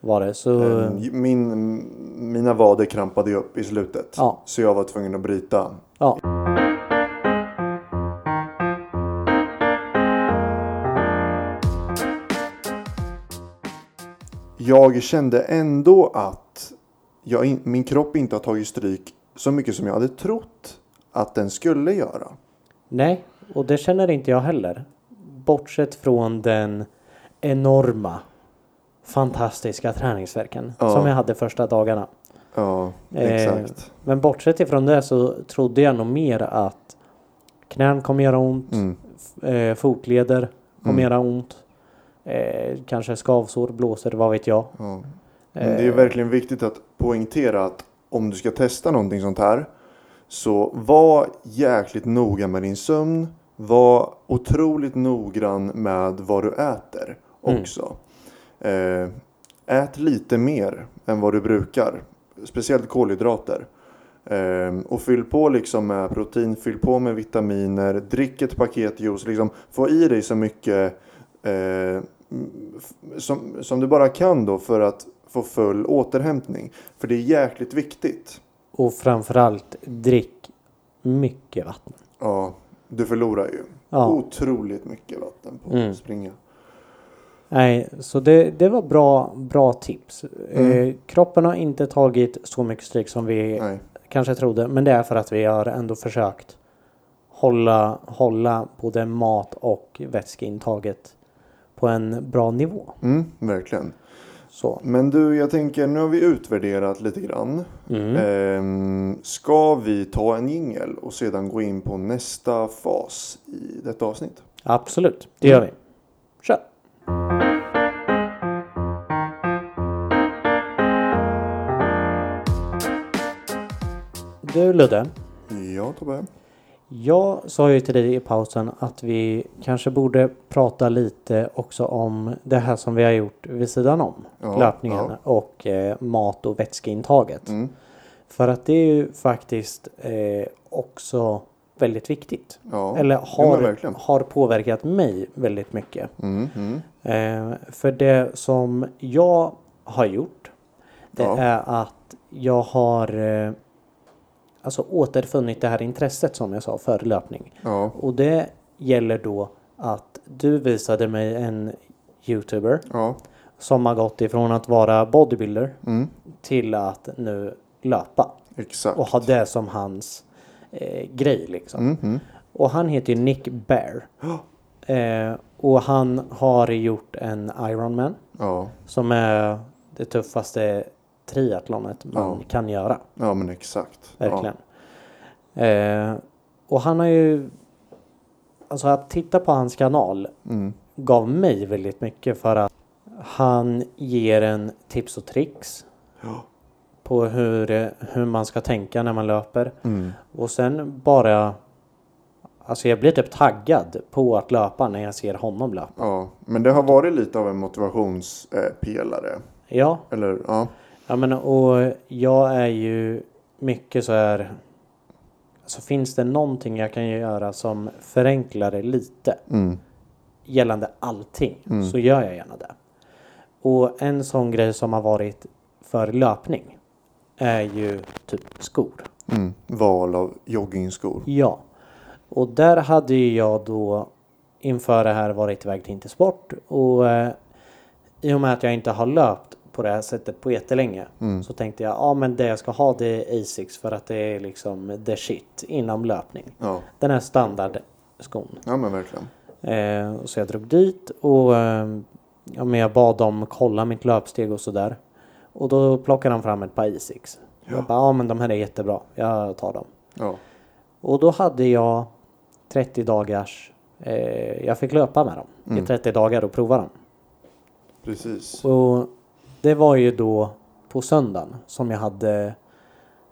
[SPEAKER 1] var det. Så
[SPEAKER 2] Eh, Min, mina vader krampade ju upp i slutet.
[SPEAKER 1] Ja.
[SPEAKER 2] Så jag var tvungen att bryta.
[SPEAKER 1] ja.
[SPEAKER 2] Jag kände ändå att jag, in- min kropp inte har tagit stryk så mycket som jag hade trott att den skulle göra.
[SPEAKER 1] Nej, och det känner inte jag heller. Bortsett från den enorma, fantastiska träningsverken
[SPEAKER 2] Ja.
[SPEAKER 1] som jag hade första dagarna.
[SPEAKER 2] Ja,
[SPEAKER 1] Eh,
[SPEAKER 2] exakt.
[SPEAKER 1] Men bortsett ifrån det så trodde jag nog mer att knän kommer göra ont,
[SPEAKER 2] Mm,
[SPEAKER 1] f- eh, fotleder kommer
[SPEAKER 2] Mm.
[SPEAKER 1] göra ont, eh, kanske skavsår, blåsor, vad vet jag.
[SPEAKER 2] ja. Men det är
[SPEAKER 1] Eh.
[SPEAKER 2] ju verkligen viktigt att poängtera att om du ska testa någonting sånt här så var jäkligt noga med din sömn. Var otroligt noggrann med vad du äter
[SPEAKER 1] Mm.
[SPEAKER 2] också. Eh, ät lite mer än vad du brukar. Speciellt kolhydrater. Eh, och fyll på liksom med protein, fyll på med vitaminer, drick ett paket juice. Liksom, få i dig så mycket eh, f- som, som du bara kan då för att få full återhämtning. För det är jäkligt viktigt.
[SPEAKER 1] Och framförallt drick mycket vatten.
[SPEAKER 2] Ja, du förlorar ju
[SPEAKER 1] Ja.
[SPEAKER 2] otroligt mycket vatten på
[SPEAKER 1] Mm.
[SPEAKER 2] att springa.
[SPEAKER 1] Nej, så det, det var bra, bra tips. Eh, kroppen har inte tagit så mycket stryk som vi
[SPEAKER 2] Mm. Nej.
[SPEAKER 1] kanske trodde. Men det är för att vi har ändå försökt hålla, hålla både mat och vätskeintaget på en bra nivå.
[SPEAKER 2] Mm, verkligen.
[SPEAKER 1] Så.
[SPEAKER 2] Men du, jag tänker nu har vi utvärderat lite grann.
[SPEAKER 1] Mm.
[SPEAKER 2] Ehm, ska vi ta en jingel och sedan gå in på nästa fas i detta avsnitt?
[SPEAKER 1] Absolut, det gör vi. Kör! Du Ludde,
[SPEAKER 2] Ja, Tobbe.
[SPEAKER 1] jag sa ju till dig i pausen att vi kanske borde prata lite också om det här som vi har gjort vid sidan om
[SPEAKER 2] Ja,
[SPEAKER 1] löpningen
[SPEAKER 2] ja.
[SPEAKER 1] och eh, mat och vätskeintaget.
[SPEAKER 2] Mm.
[SPEAKER 1] För att det är ju faktiskt eh, också väldigt viktigt.
[SPEAKER 2] Ja.
[SPEAKER 1] Eller
[SPEAKER 2] Jo,
[SPEAKER 1] har,
[SPEAKER 2] men verkligen.
[SPEAKER 1] har påverkat mig väldigt mycket.
[SPEAKER 2] Mm, mm.
[SPEAKER 1] Eh, för det som jag har gjort det
[SPEAKER 2] Ja.
[SPEAKER 1] är att jag har eh, alltså återfunnit det här intresset som jag sa för löpning.
[SPEAKER 2] Ja.
[SPEAKER 1] Och det gäller då att du visade mig en youtuber
[SPEAKER 2] Ja.
[SPEAKER 1] som har gått ifrån att vara bodybuilder
[SPEAKER 2] Mm.
[SPEAKER 1] till att nu löpa
[SPEAKER 2] Exakt.
[SPEAKER 1] och ha det som hans eh, grej liksom.
[SPEAKER 2] Mm, mm.
[SPEAKER 1] Och han heter ju Nick Bear. Eh, och han har gjort en Ironman
[SPEAKER 2] Ja.
[SPEAKER 1] som är det tuffaste triathlonet man
[SPEAKER 2] Ja.
[SPEAKER 1] kan göra.
[SPEAKER 2] ja, men exakt.
[SPEAKER 1] Verkligen. Eh, och han har ju... Alltså att titta på hans kanal
[SPEAKER 2] Ja. Mm.
[SPEAKER 1] gav mig väldigt mycket för att han ger en tips och tricks
[SPEAKER 2] Ja.
[SPEAKER 1] på hur, eh, hur man ska tänka när man löper.
[SPEAKER 2] Mm.
[SPEAKER 1] Och sen bara... Alltså jag blir typ taggad på att löpa när jag ser honom löpa.
[SPEAKER 2] ja. Men det har varit lite av en motivationspelare.
[SPEAKER 1] Ja,
[SPEAKER 2] Eller ja.
[SPEAKER 1] Ja men och jag är ju mycket så här. Alltså finns det någonting jag kan göra som förenklar det lite
[SPEAKER 2] Mm.
[SPEAKER 1] gällande allting så gör jag gärna det. Och en sån grej som har varit för löpning är ju typ skor.
[SPEAKER 2] Mm. Val av joggingskor.
[SPEAKER 1] Ja. Och där hade ju jag då inför det här varit iväg till Intersport och eh, i och med att jag inte har löpt på det här sättet på jättelänge
[SPEAKER 2] Mm.
[SPEAKER 1] så tänkte jag ja men det jag ska ha det är Asics för att det är liksom the shit inom löpning.
[SPEAKER 2] Ja.
[SPEAKER 1] Den här standardskon.
[SPEAKER 2] Ja men verkligen.
[SPEAKER 1] Eh, så jag drog dit och eh, ja, men jag bad dem kolla mitt löpsteg och sådär. Och då plockade de fram ett par Asics. Jag bara ja men de här är jättebra, jag tar dem.
[SPEAKER 2] Ja.
[SPEAKER 1] Och då hade jag 30 dagars... Eh, jag fick löpa med dem i 30 dagar och prova dem.
[SPEAKER 2] Precis.
[SPEAKER 1] Och det var ju då på söndagen som jag hade...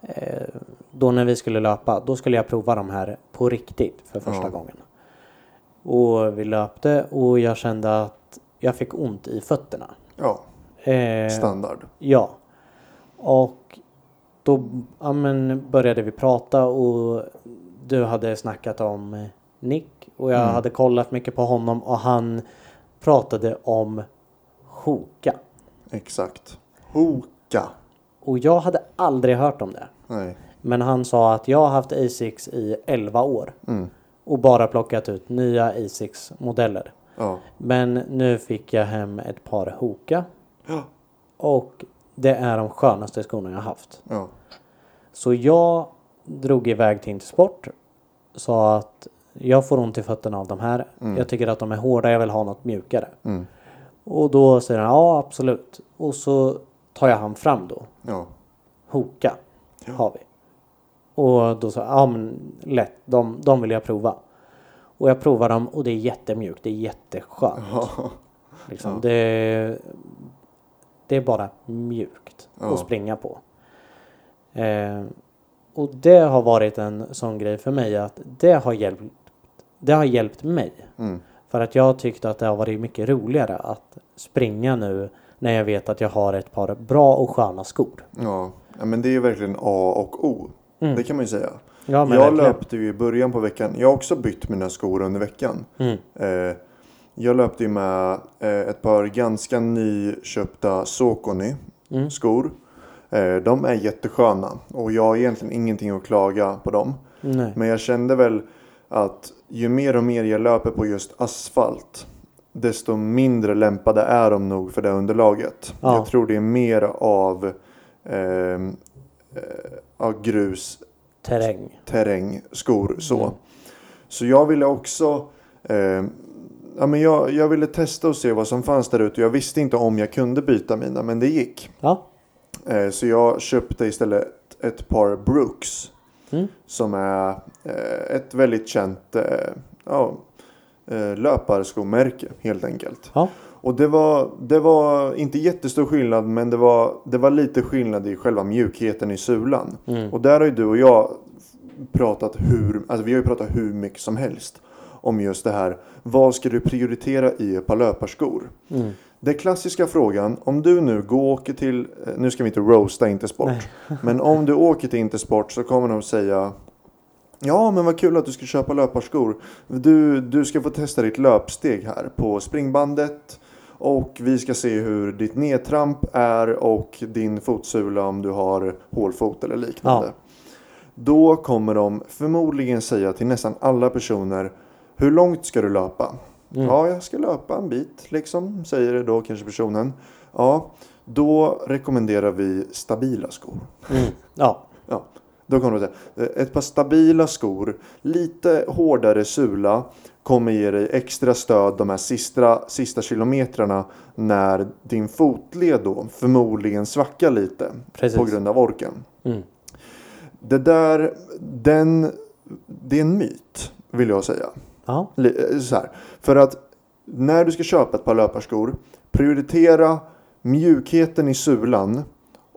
[SPEAKER 1] Eh, då när vi skulle löpa, då skulle jag prova de här på riktigt för första
[SPEAKER 2] Ja.
[SPEAKER 1] gången. Och vi löpte och jag kände att jag fick ont i fötterna.
[SPEAKER 2] Ja.
[SPEAKER 1] Eh,
[SPEAKER 2] Standard.
[SPEAKER 1] Ja. Och då ja, men, började vi prata och du hade snackat om Nick och jag hade kollat mycket på honom och han pratade om Hoka.
[SPEAKER 2] Exakt. Hoka.
[SPEAKER 1] Och jag hade aldrig hört om det.
[SPEAKER 2] Nej.
[SPEAKER 1] Men han sa att jag har haft Asics i 11 år
[SPEAKER 2] Mm.
[SPEAKER 1] och bara plockat ut nya Asics modeller.
[SPEAKER 2] Ja.
[SPEAKER 1] Men nu fick jag hem ett par Hoka
[SPEAKER 2] Ja.
[SPEAKER 1] och det är de skönaste skorna jag har haft.
[SPEAKER 2] Ja.
[SPEAKER 1] Så jag drog iväg till Intersport. Sa att jag får ont i fötterna av de här. Jag tycker att de är hårda, jag vill ha något mjukare.
[SPEAKER 2] Mm.
[SPEAKER 1] Och då säger han ja absolut. Och så tar jag han fram då.
[SPEAKER 2] Ja.
[SPEAKER 1] Hoka har vi. Och då sa jag ja men lätt, de, de vill jag prova. Och jag provar dem och det är jättemjukt, det är jätteskönt.
[SPEAKER 2] Ja.
[SPEAKER 1] Liksom. Det, det är bara mjukt
[SPEAKER 2] Ja.
[SPEAKER 1] att springa på. Eh, och det har varit en sån grej för mig att det har hjälpt, det har hjälpt mig.
[SPEAKER 2] Mm.
[SPEAKER 1] För att jag tyckte att det har varit mycket roligare att springa nu när jag vet att jag har ett par bra och sköna skor.
[SPEAKER 2] Ja. ja. Men det är ju verkligen A och O. Det kan man ju säga.
[SPEAKER 1] Mm. Ja, men
[SPEAKER 2] jag
[SPEAKER 1] verkligen.
[SPEAKER 2] löpte ju i början på veckan. Jag har också bytt mina skor under veckan.
[SPEAKER 1] Mm.
[SPEAKER 2] Eh, jag löpte ju med eh, ett par ganska nyköpta Sokoni
[SPEAKER 1] Mm.
[SPEAKER 2] skor. Eh, de är jättesköna och jag har egentligen ingenting att klaga på dem.
[SPEAKER 1] Nej.
[SPEAKER 2] Men jag kände väl att ju mer och mer jag löper på just asfalt desto mindre lämpade är de nog för det underlaget.
[SPEAKER 1] Ja.
[SPEAKER 2] Jag tror det är mer av ehm, eh, ja, grus
[SPEAKER 1] Terräng.
[SPEAKER 2] terrängskor. Så. så jag ville också eh, ja, men jag, jag ville testa och se vad som fanns där ute. Jag visste inte om jag kunde byta mina, men det gick.
[SPEAKER 1] Ja.
[SPEAKER 2] Eh, så jag köpte istället ett par Brooks.
[SPEAKER 1] Mm.
[SPEAKER 2] Som är eh, ett väldigt känt eh, ja, eh, löparskomärke helt enkelt.
[SPEAKER 1] Ja.
[SPEAKER 2] Och det var, det var inte jättestor skillnad men det var, det var lite skillnad i själva mjukheten i sulan.
[SPEAKER 1] Mm.
[SPEAKER 2] Och där har ju du och jag pratat hur, alltså vi har ju pratat hur mycket som helst om just det här. Vad ska du prioritera i ett par löparskor?
[SPEAKER 1] Mm.
[SPEAKER 2] Den klassiska frågan, om du nu går och åker till, eh, nu ska vi inte roasta Intersport, men om du åker till Intersport så kommer de säga Ja men vad kul att du ska köpa löparskor. Du, du ska få testa ditt löpsteg här på springbandet. Och vi ska se hur ditt nedtramp är och din fotsula om du har hålfot eller liknande. Då kommer de förmodligen säga till nästan alla personer. Hur långt ska du löpa? Ja, jag ska löpa en bit liksom. Säger då kanske personen. Ja, då rekommenderar vi stabila skor.
[SPEAKER 1] Mm. Ja.
[SPEAKER 2] Ja, då kommer det säga. Ett par stabila skor, lite hårdare sula kommer ge dig extra stöd de här sista, sista kilometrarna när din fotled då förmodligen svackar lite
[SPEAKER 1] Precis.
[SPEAKER 2] på grund av orken.
[SPEAKER 1] Mm.
[SPEAKER 2] Det där, den, det är en myt vill jag säga.
[SPEAKER 1] Ja.
[SPEAKER 2] Li- eh, Så här. För att när du ska köpa ett par löparskor, prioritera mjukheten i sulan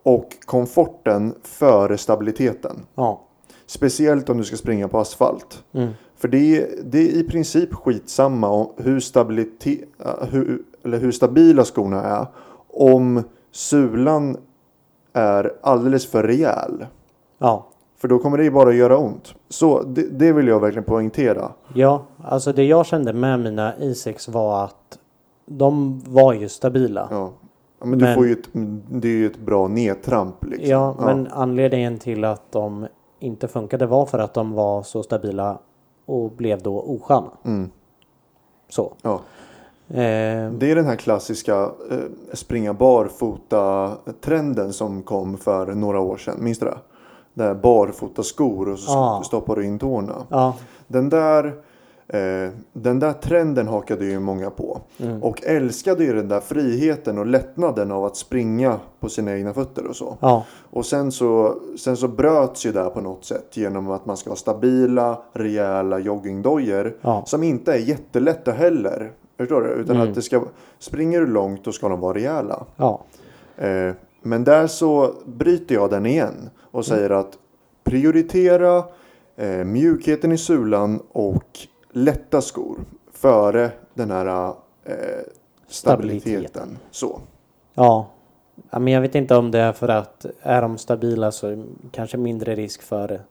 [SPEAKER 2] och komforten före stabiliteten.
[SPEAKER 1] Ja.
[SPEAKER 2] Speciellt om du ska springa på asfalt.
[SPEAKER 1] Mm.
[SPEAKER 2] För det är, det är i princip skitsamma om hur, stabilite- eh, hur, eller hur stabila skorna är om sulan är alldeles för rejäl.
[SPEAKER 1] Ja.
[SPEAKER 2] För då kommer det ju bara göra ont. Så det, det vill jag verkligen poängtera.
[SPEAKER 1] Ja, alltså det jag kände med mina i6 var att de var ju stabila.
[SPEAKER 2] Ja. Ja, men du
[SPEAKER 1] Men-
[SPEAKER 2] får ju ett, det är ju ett bra nedtramp. Liksom.
[SPEAKER 1] Ja, men anledningen till att de inte funkade var för att de var så stabila och blev då osköna.
[SPEAKER 2] Mm.
[SPEAKER 1] Så.
[SPEAKER 2] Ja.
[SPEAKER 1] Eh,
[SPEAKER 2] Det är den här klassiska eh, springa barfota-trenden som kom för några år sedan. Minns du det? Där barfota skor och så
[SPEAKER 1] Ja.
[SPEAKER 2] stoppar du in tårna.
[SPEAKER 1] ja,
[SPEAKER 2] Den där, eh, den där trenden hakade ju många på.
[SPEAKER 1] Mm.
[SPEAKER 2] Och älskade ju den där friheten och lättnaden av att springa på sina egna fötter och så.
[SPEAKER 1] ja,
[SPEAKER 2] Och sen så, sen så bröts ju där på något sätt genom att man ska ha stabila, rejäla joggingdojor.
[SPEAKER 1] Ja.
[SPEAKER 2] Som inte är jättelätta heller. Förstår du? Utan att det ska, springer du långt då ska de vara rejäla.
[SPEAKER 1] ja,
[SPEAKER 2] Eh, men där så bryter jag den igen och säger att prioritera eh, mjukheten i sulan och lätta skor före den här eh, stabiliteten. Så.
[SPEAKER 1] ja. Ja, men jag vet inte om det är för att är de stabila så är det kanske mindre risk för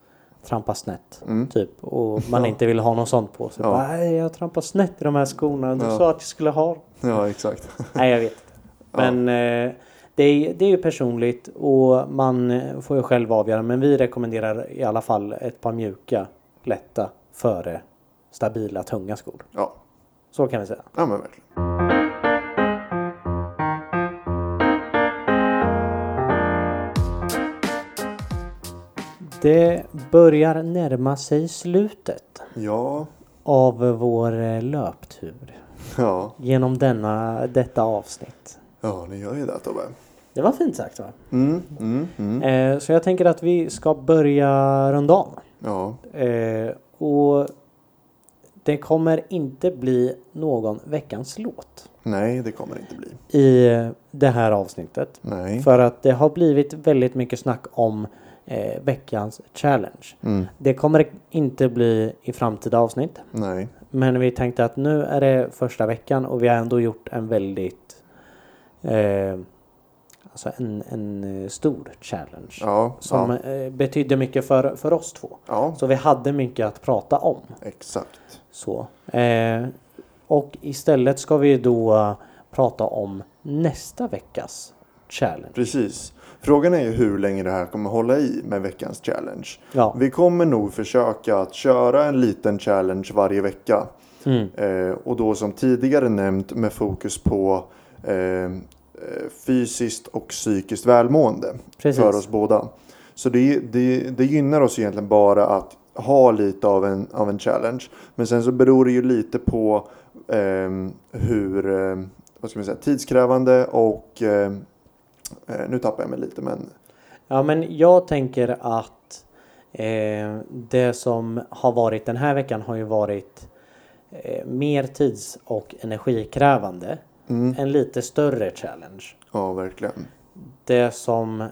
[SPEAKER 1] trampa snett. Typ. Och man inte vill ha något sånt på sig.
[SPEAKER 2] Mm. Ja.
[SPEAKER 1] Bara, Nej, jag trampar snett i de här skorna. Du
[SPEAKER 2] Ja.
[SPEAKER 1] sa att jag skulle ha dem."
[SPEAKER 2] Ja, exakt.
[SPEAKER 1] Nej, jag vet inte. Men eh, det, är, det är ju personligt och man eh, får ju själv avgöra. Men vi rekommenderar i alla fall ett par mjuka, lätta före stabila, tunga skor.
[SPEAKER 2] Ja,
[SPEAKER 1] Så kan vi säga.
[SPEAKER 2] ja men verkligen.
[SPEAKER 1] Det börjar närma sig slutet
[SPEAKER 2] Ja,
[SPEAKER 1] av vår eh, löptur
[SPEAKER 2] ja.
[SPEAKER 1] genom denna, detta avsnitt.
[SPEAKER 2] Ja, det gör ju det Tobbe.
[SPEAKER 1] Det var fint sagt va?
[SPEAKER 2] Mm, mm, mm.
[SPEAKER 1] Eh, så jag tänker att vi ska börja runda av.
[SPEAKER 2] Ja,
[SPEAKER 1] Eh, och det kommer inte bli någon veckans låt
[SPEAKER 2] nej det kommer det inte bli.
[SPEAKER 1] i det här avsnittet.
[SPEAKER 2] Nej.
[SPEAKER 1] För att det har blivit väldigt mycket snack om eh, veckans challenge.
[SPEAKER 2] Mm,
[SPEAKER 1] Det kommer inte bli i framtida avsnitt.
[SPEAKER 2] nej.
[SPEAKER 1] Men vi tänkte att nu är det första veckan och vi har ändå gjort en väldigt eh, Alltså en, en eh, stor challenge.
[SPEAKER 2] Ja,
[SPEAKER 1] Som
[SPEAKER 2] ja,
[SPEAKER 1] eh, betydde mycket för, för oss två.
[SPEAKER 2] ja
[SPEAKER 1] Så vi hade mycket att prata om.
[SPEAKER 2] exakt.
[SPEAKER 1] Så. Eh, och istället ska vi då eh, prata om nästa veckas challenge.
[SPEAKER 2] Precis. Frågan är ju hur länge det här kommer hålla i med veckans challenge.
[SPEAKER 1] Ja.
[SPEAKER 2] Vi kommer nog försöka att köra en liten challenge varje vecka.
[SPEAKER 1] Mm.
[SPEAKER 2] Eh, och då som tidigare nämnt med fokus på eh, eh, fysiskt och psykiskt välmående.
[SPEAKER 1] Precis.
[SPEAKER 2] för oss båda. Så det, det, det gynnar oss egentligen bara att ha lite av en, av en challenge. Men sen så beror det ju lite på ehm, hur ehm, vad ska man säga, tidskrävande och ehm, eh, nu tappar jag mig lite men
[SPEAKER 1] ja men jag tänker att eh, det som har varit den här veckan har ju varit eh, mer tids och energikrävande. En lite större challenge.
[SPEAKER 2] mm. ja verkligen.
[SPEAKER 1] Det som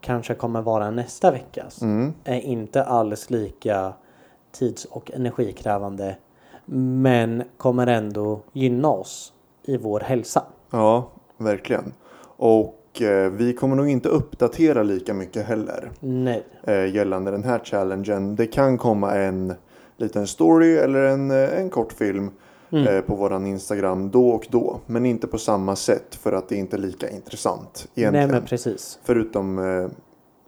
[SPEAKER 1] kanske kommer vara nästa veckas
[SPEAKER 2] Mm.
[SPEAKER 1] är inte alls lika tids och energikrävande men kommer ändå gynna oss i vår hälsa.
[SPEAKER 2] Ja, verkligen. Och eh, vi kommer nog inte uppdatera lika mycket heller.
[SPEAKER 1] Nej.
[SPEAKER 2] eh, gällande den här challengen. Det kan komma en liten story eller en, eh, en kort film eh, på våran Instagram då och då. Men inte på samma sätt för att det är inte lika intressant egentligen.
[SPEAKER 1] Nej men precis.
[SPEAKER 2] Förutom eh,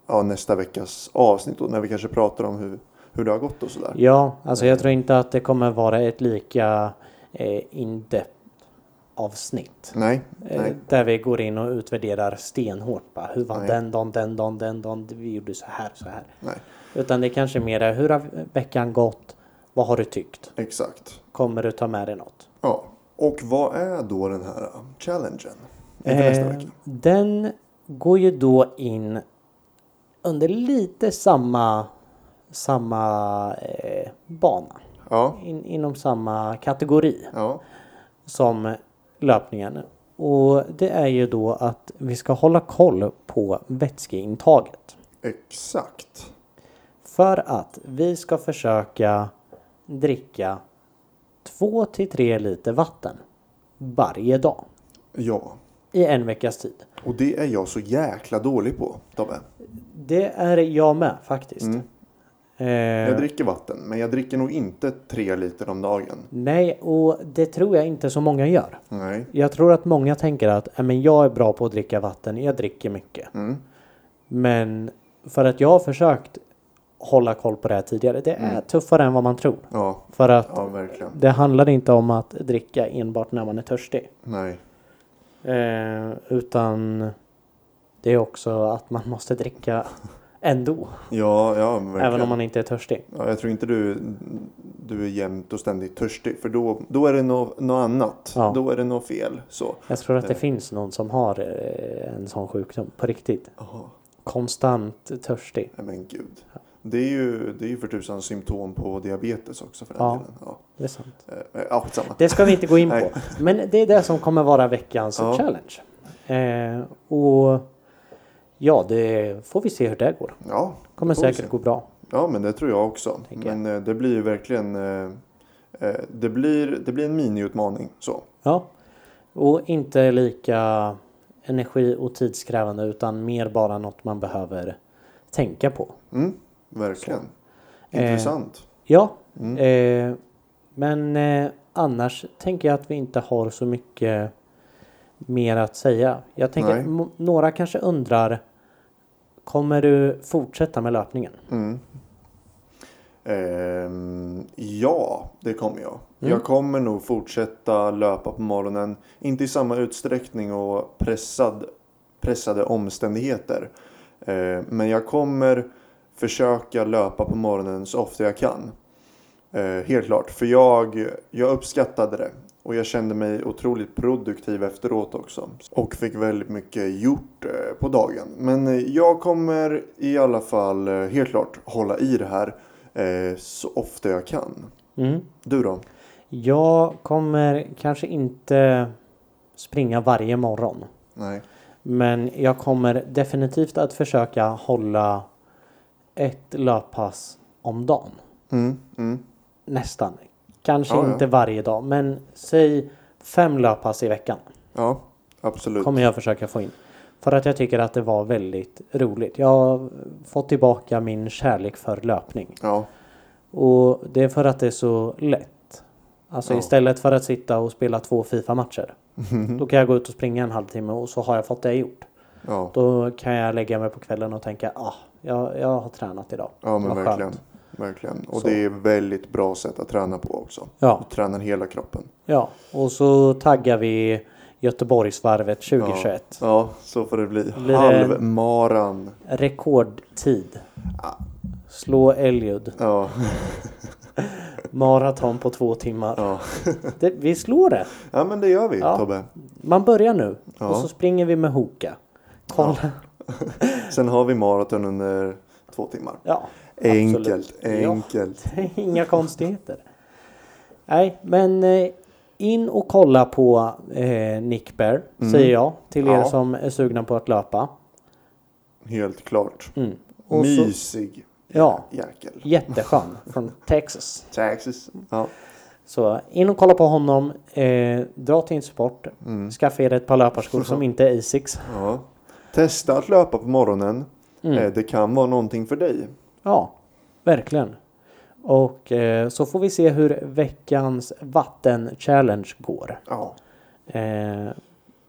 [SPEAKER 2] ja, nästa veckas avsnitt och när vi kanske pratar om hur, hur det har gått och sådär.
[SPEAKER 1] Ja, alltså jag tror inte att det kommer vara ett lika eh, in-depth avsnitt.
[SPEAKER 2] Nej,
[SPEAKER 1] Eh,
[SPEAKER 2] nej.
[SPEAKER 1] Där vi går in och utvärderar stenhårt. Bara, hur var
[SPEAKER 2] Nej.
[SPEAKER 1] den dagen, den dagen, den dagen. Vi gjorde så här, så här.
[SPEAKER 2] nej.
[SPEAKER 1] Utan det är kanske mer är, hur har veckan gått? Vad har du tyckt?
[SPEAKER 2] Exakt.
[SPEAKER 1] Kommer du ta med dig något?
[SPEAKER 2] Ja. Och vad är då den här eh, challengen? Inför nästa
[SPEAKER 1] Eh,
[SPEAKER 2] vecka.
[SPEAKER 1] Den går ju då in under lite samma, samma eh, bana.
[SPEAKER 2] Ja.
[SPEAKER 1] In, inom samma kategori
[SPEAKER 2] Ja.
[SPEAKER 1] som löpningen. Och det är ju då att vi ska hålla koll på vätskeintaget.
[SPEAKER 2] Exakt.
[SPEAKER 1] För att vi ska försöka dricka 2-3 liter vatten varje dag
[SPEAKER 2] Ja.
[SPEAKER 1] i en veckas tid.
[SPEAKER 2] Och det är jag så jäkla dålig på, Tobbe.
[SPEAKER 1] Det är jag med faktiskt.
[SPEAKER 2] Mm. Jag
[SPEAKER 1] Eh,
[SPEAKER 2] dricker vatten, men jag dricker nog inte tre liter om dagen.
[SPEAKER 1] nej, och det tror jag inte så många gör.
[SPEAKER 2] Nej.
[SPEAKER 1] Jag tror att många tänker att "Ja, men jag är bra på att dricka vatten, jag dricker mycket.
[SPEAKER 2] Mm.
[SPEAKER 1] Men för att jag har försökt hålla koll på det här tidigare, det är tuffare än vad man tror.
[SPEAKER 2] Ja.
[SPEAKER 1] För att
[SPEAKER 2] Ja, verkligen.
[SPEAKER 1] det handlar inte om att dricka enbart när man är törstig.
[SPEAKER 2] Nej.
[SPEAKER 1] Eh, utan det är också att man måste dricka ändå.
[SPEAKER 2] Ja, ja, verkligen.
[SPEAKER 1] Även om man inte är törstig.
[SPEAKER 2] Ja, jag tror inte du, du är jämt och ständigt törstig. För då, då är det något nå annat.
[SPEAKER 1] Ja.
[SPEAKER 2] Då är det något fel. Så.
[SPEAKER 1] Jag tror att det
[SPEAKER 2] Eh.
[SPEAKER 1] finns någon som har eh, en sån sjukdom på riktigt.
[SPEAKER 2] Jaha,
[SPEAKER 1] Konstant törstig.
[SPEAKER 2] nej men gud. Det är ju, det är ju för tusan symptom på diabetes också för den
[SPEAKER 1] Ja.
[SPEAKER 2] delen. Ja.
[SPEAKER 1] Det är sant.
[SPEAKER 2] Eh, Ja, skitsamma.
[SPEAKER 1] Det ska vi inte gå in på.
[SPEAKER 2] Nej.
[SPEAKER 1] Men det är det som kommer vara veckans
[SPEAKER 2] Ja.
[SPEAKER 1] challenge. Eh, och ja, det får vi se hur det går.
[SPEAKER 2] Ja,
[SPEAKER 1] kommer
[SPEAKER 2] det får vi
[SPEAKER 1] säkert
[SPEAKER 2] se.
[SPEAKER 1] gå bra.
[SPEAKER 2] Ja, men det tror jag också.
[SPEAKER 1] Tänker jag.
[SPEAKER 2] Men eh, det blir ju verkligen... eh, eh, Det blir, det blir en miniutmaning. Så.
[SPEAKER 1] Ja. Och inte lika energi och tidskrävande utan mer bara något man behöver tänka på.
[SPEAKER 2] Mm, verkligen.
[SPEAKER 1] Eh.
[SPEAKER 2] Intressant. Mm,
[SPEAKER 1] Ja. Eh, men eh, annars tänker jag att vi inte har så mycket mer att säga. Jag tänker
[SPEAKER 2] Nej.
[SPEAKER 1] att mo- några kanske undrar Kommer du fortsätta med löpningen?
[SPEAKER 2] Mm. Ehm, ja, det kommer jag.
[SPEAKER 1] Mm.
[SPEAKER 2] Jag kommer nog fortsätta löpa på morgonen. Inte i samma utsträckning och pressad, pressade omständigheter. Ehm, men jag kommer försöka löpa på morgonen så ofta jag kan. Ehm, helt klart, för jag, jag uppskattade det. Och jag kände mig otroligt produktiv efteråt också. Och fick väldigt mycket gjort eh, på dagen. Men eh, jag kommer i alla fall eh, helt klart hålla i det här eh, så ofta jag kan.
[SPEAKER 1] Mm.
[SPEAKER 2] Du då?
[SPEAKER 1] Jag kommer kanske inte springa varje morgon.
[SPEAKER 2] Nej.
[SPEAKER 1] Men jag kommer definitivt att försöka hålla ett löppass om dagen.
[SPEAKER 2] Mm, mm,
[SPEAKER 1] Nästan. Kanske
[SPEAKER 2] Ja, ja.
[SPEAKER 1] inte varje dag, men säg fem löppass i veckan.
[SPEAKER 2] ja, absolut.
[SPEAKER 1] Kommer jag försöka få in. För att jag tycker att det var väldigt roligt. Jag har fått tillbaka min kärlek för löpning.
[SPEAKER 2] Ja,
[SPEAKER 1] Och det är för att det är så lätt. Alltså
[SPEAKER 2] Ja.
[SPEAKER 1] istället för att sitta och spela två Fifa-matcher. Då kan jag gå ut och springa en halvtimme och så har jag fått det gjort.
[SPEAKER 2] ja,
[SPEAKER 1] Då kan jag lägga mig på kvällen och tänka ah, jag, jag har tränat idag.
[SPEAKER 2] ja men
[SPEAKER 1] Vad skönt.
[SPEAKER 2] verkligen. verkligen. Och
[SPEAKER 1] Så.
[SPEAKER 2] det är väldigt bra sätt att träna på också.
[SPEAKER 1] Ja,
[SPEAKER 2] Tränar hela kroppen.
[SPEAKER 1] ja, och så taggar vi Göteborgsvarvet 2021.
[SPEAKER 2] Ja, så får det bli.
[SPEAKER 1] Blir det-
[SPEAKER 2] Halvmaran.
[SPEAKER 1] Rekordtid. Slå Eliud.
[SPEAKER 2] Ja,
[SPEAKER 1] Maraton på två timmar.
[SPEAKER 2] ja.
[SPEAKER 1] Det, vi slår det.
[SPEAKER 2] ja, men det gör vi
[SPEAKER 1] Ja.
[SPEAKER 2] Tobbe.
[SPEAKER 1] Man börjar nu
[SPEAKER 2] Ja.
[SPEAKER 1] och så springer vi med hoka. Kolla. Ja,
[SPEAKER 2] Sen har vi maraton under två timmar. Enkelt,
[SPEAKER 1] absolut.
[SPEAKER 2] enkelt.
[SPEAKER 1] Ja, det är inga konstigheter. Nej, men eh, in och kolla på eh, Nick Bear, säger jag till er
[SPEAKER 2] Mm. Ja.
[SPEAKER 1] som är sugna på att löpa.
[SPEAKER 2] Helt klart.
[SPEAKER 1] Mm. Och så,
[SPEAKER 2] Mysig
[SPEAKER 1] Ja.
[SPEAKER 2] jäkel.
[SPEAKER 1] jätteskön från Texas.
[SPEAKER 2] Taxis. Ja.
[SPEAKER 1] Så in och kolla på honom. Eh, dra till en sport. Skaffa er ett par löparskor som inte är Asics.
[SPEAKER 2] ja. Testa att löpa på morgonen.
[SPEAKER 1] Mm.
[SPEAKER 2] Eh, Det kan vara någonting för dig.
[SPEAKER 1] Ja, verkligen. Och eh, så får vi se hur veckans vatten-challenge går.
[SPEAKER 2] Ja.
[SPEAKER 1] Eh,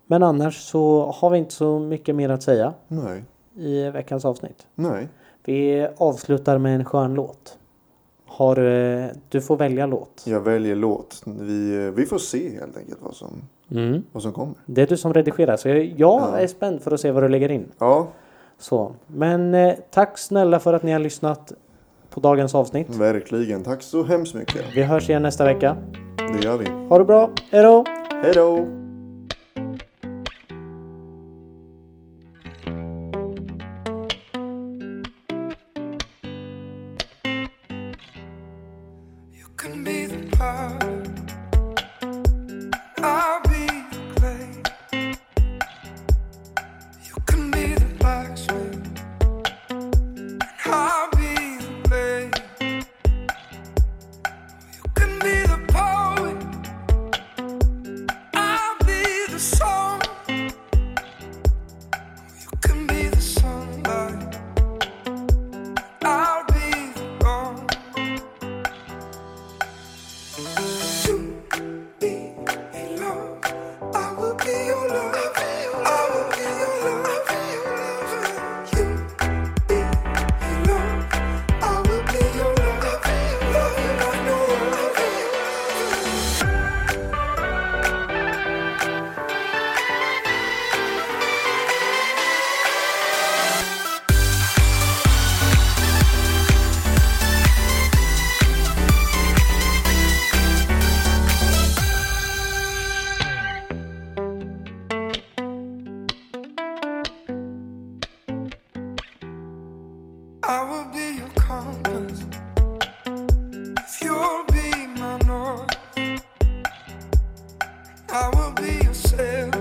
[SPEAKER 1] men annars så har vi inte så mycket mer att säga.
[SPEAKER 2] Nej.
[SPEAKER 1] i veckans avsnitt.
[SPEAKER 2] Nej.
[SPEAKER 1] Vi avslutar med en skön låt. Har, eh, du får välja låt.
[SPEAKER 2] Jag väljer låt. Vi, eh, vi får se helt enkelt vad som,
[SPEAKER 1] Mm.
[SPEAKER 2] vad som kommer.
[SPEAKER 1] Det är du som redigerar så jag, jag är spänd för att se vad du lägger in.
[SPEAKER 2] Ja,
[SPEAKER 1] Så. Men eh, tack snälla för att ni har lyssnat på dagens avsnitt.
[SPEAKER 2] verkligen. Tack så hemskt mycket.
[SPEAKER 1] Vi hörs igen nästa vecka.
[SPEAKER 2] Det gör vi.
[SPEAKER 1] Ha det bra, hejdå!
[SPEAKER 2] Hej då!
[SPEAKER 3] You can be the pot, I'll be the clay. You can be the blacksmith, and I'll be the blade. You can be the poet, I'll be the song. You can be the sunlight, I'll be the dawn. You be a love. I will be your love. I will be your love. You be a love. I will be your love. Love you like no other. I will be your compass. If you'll be my north, I will be your sailor.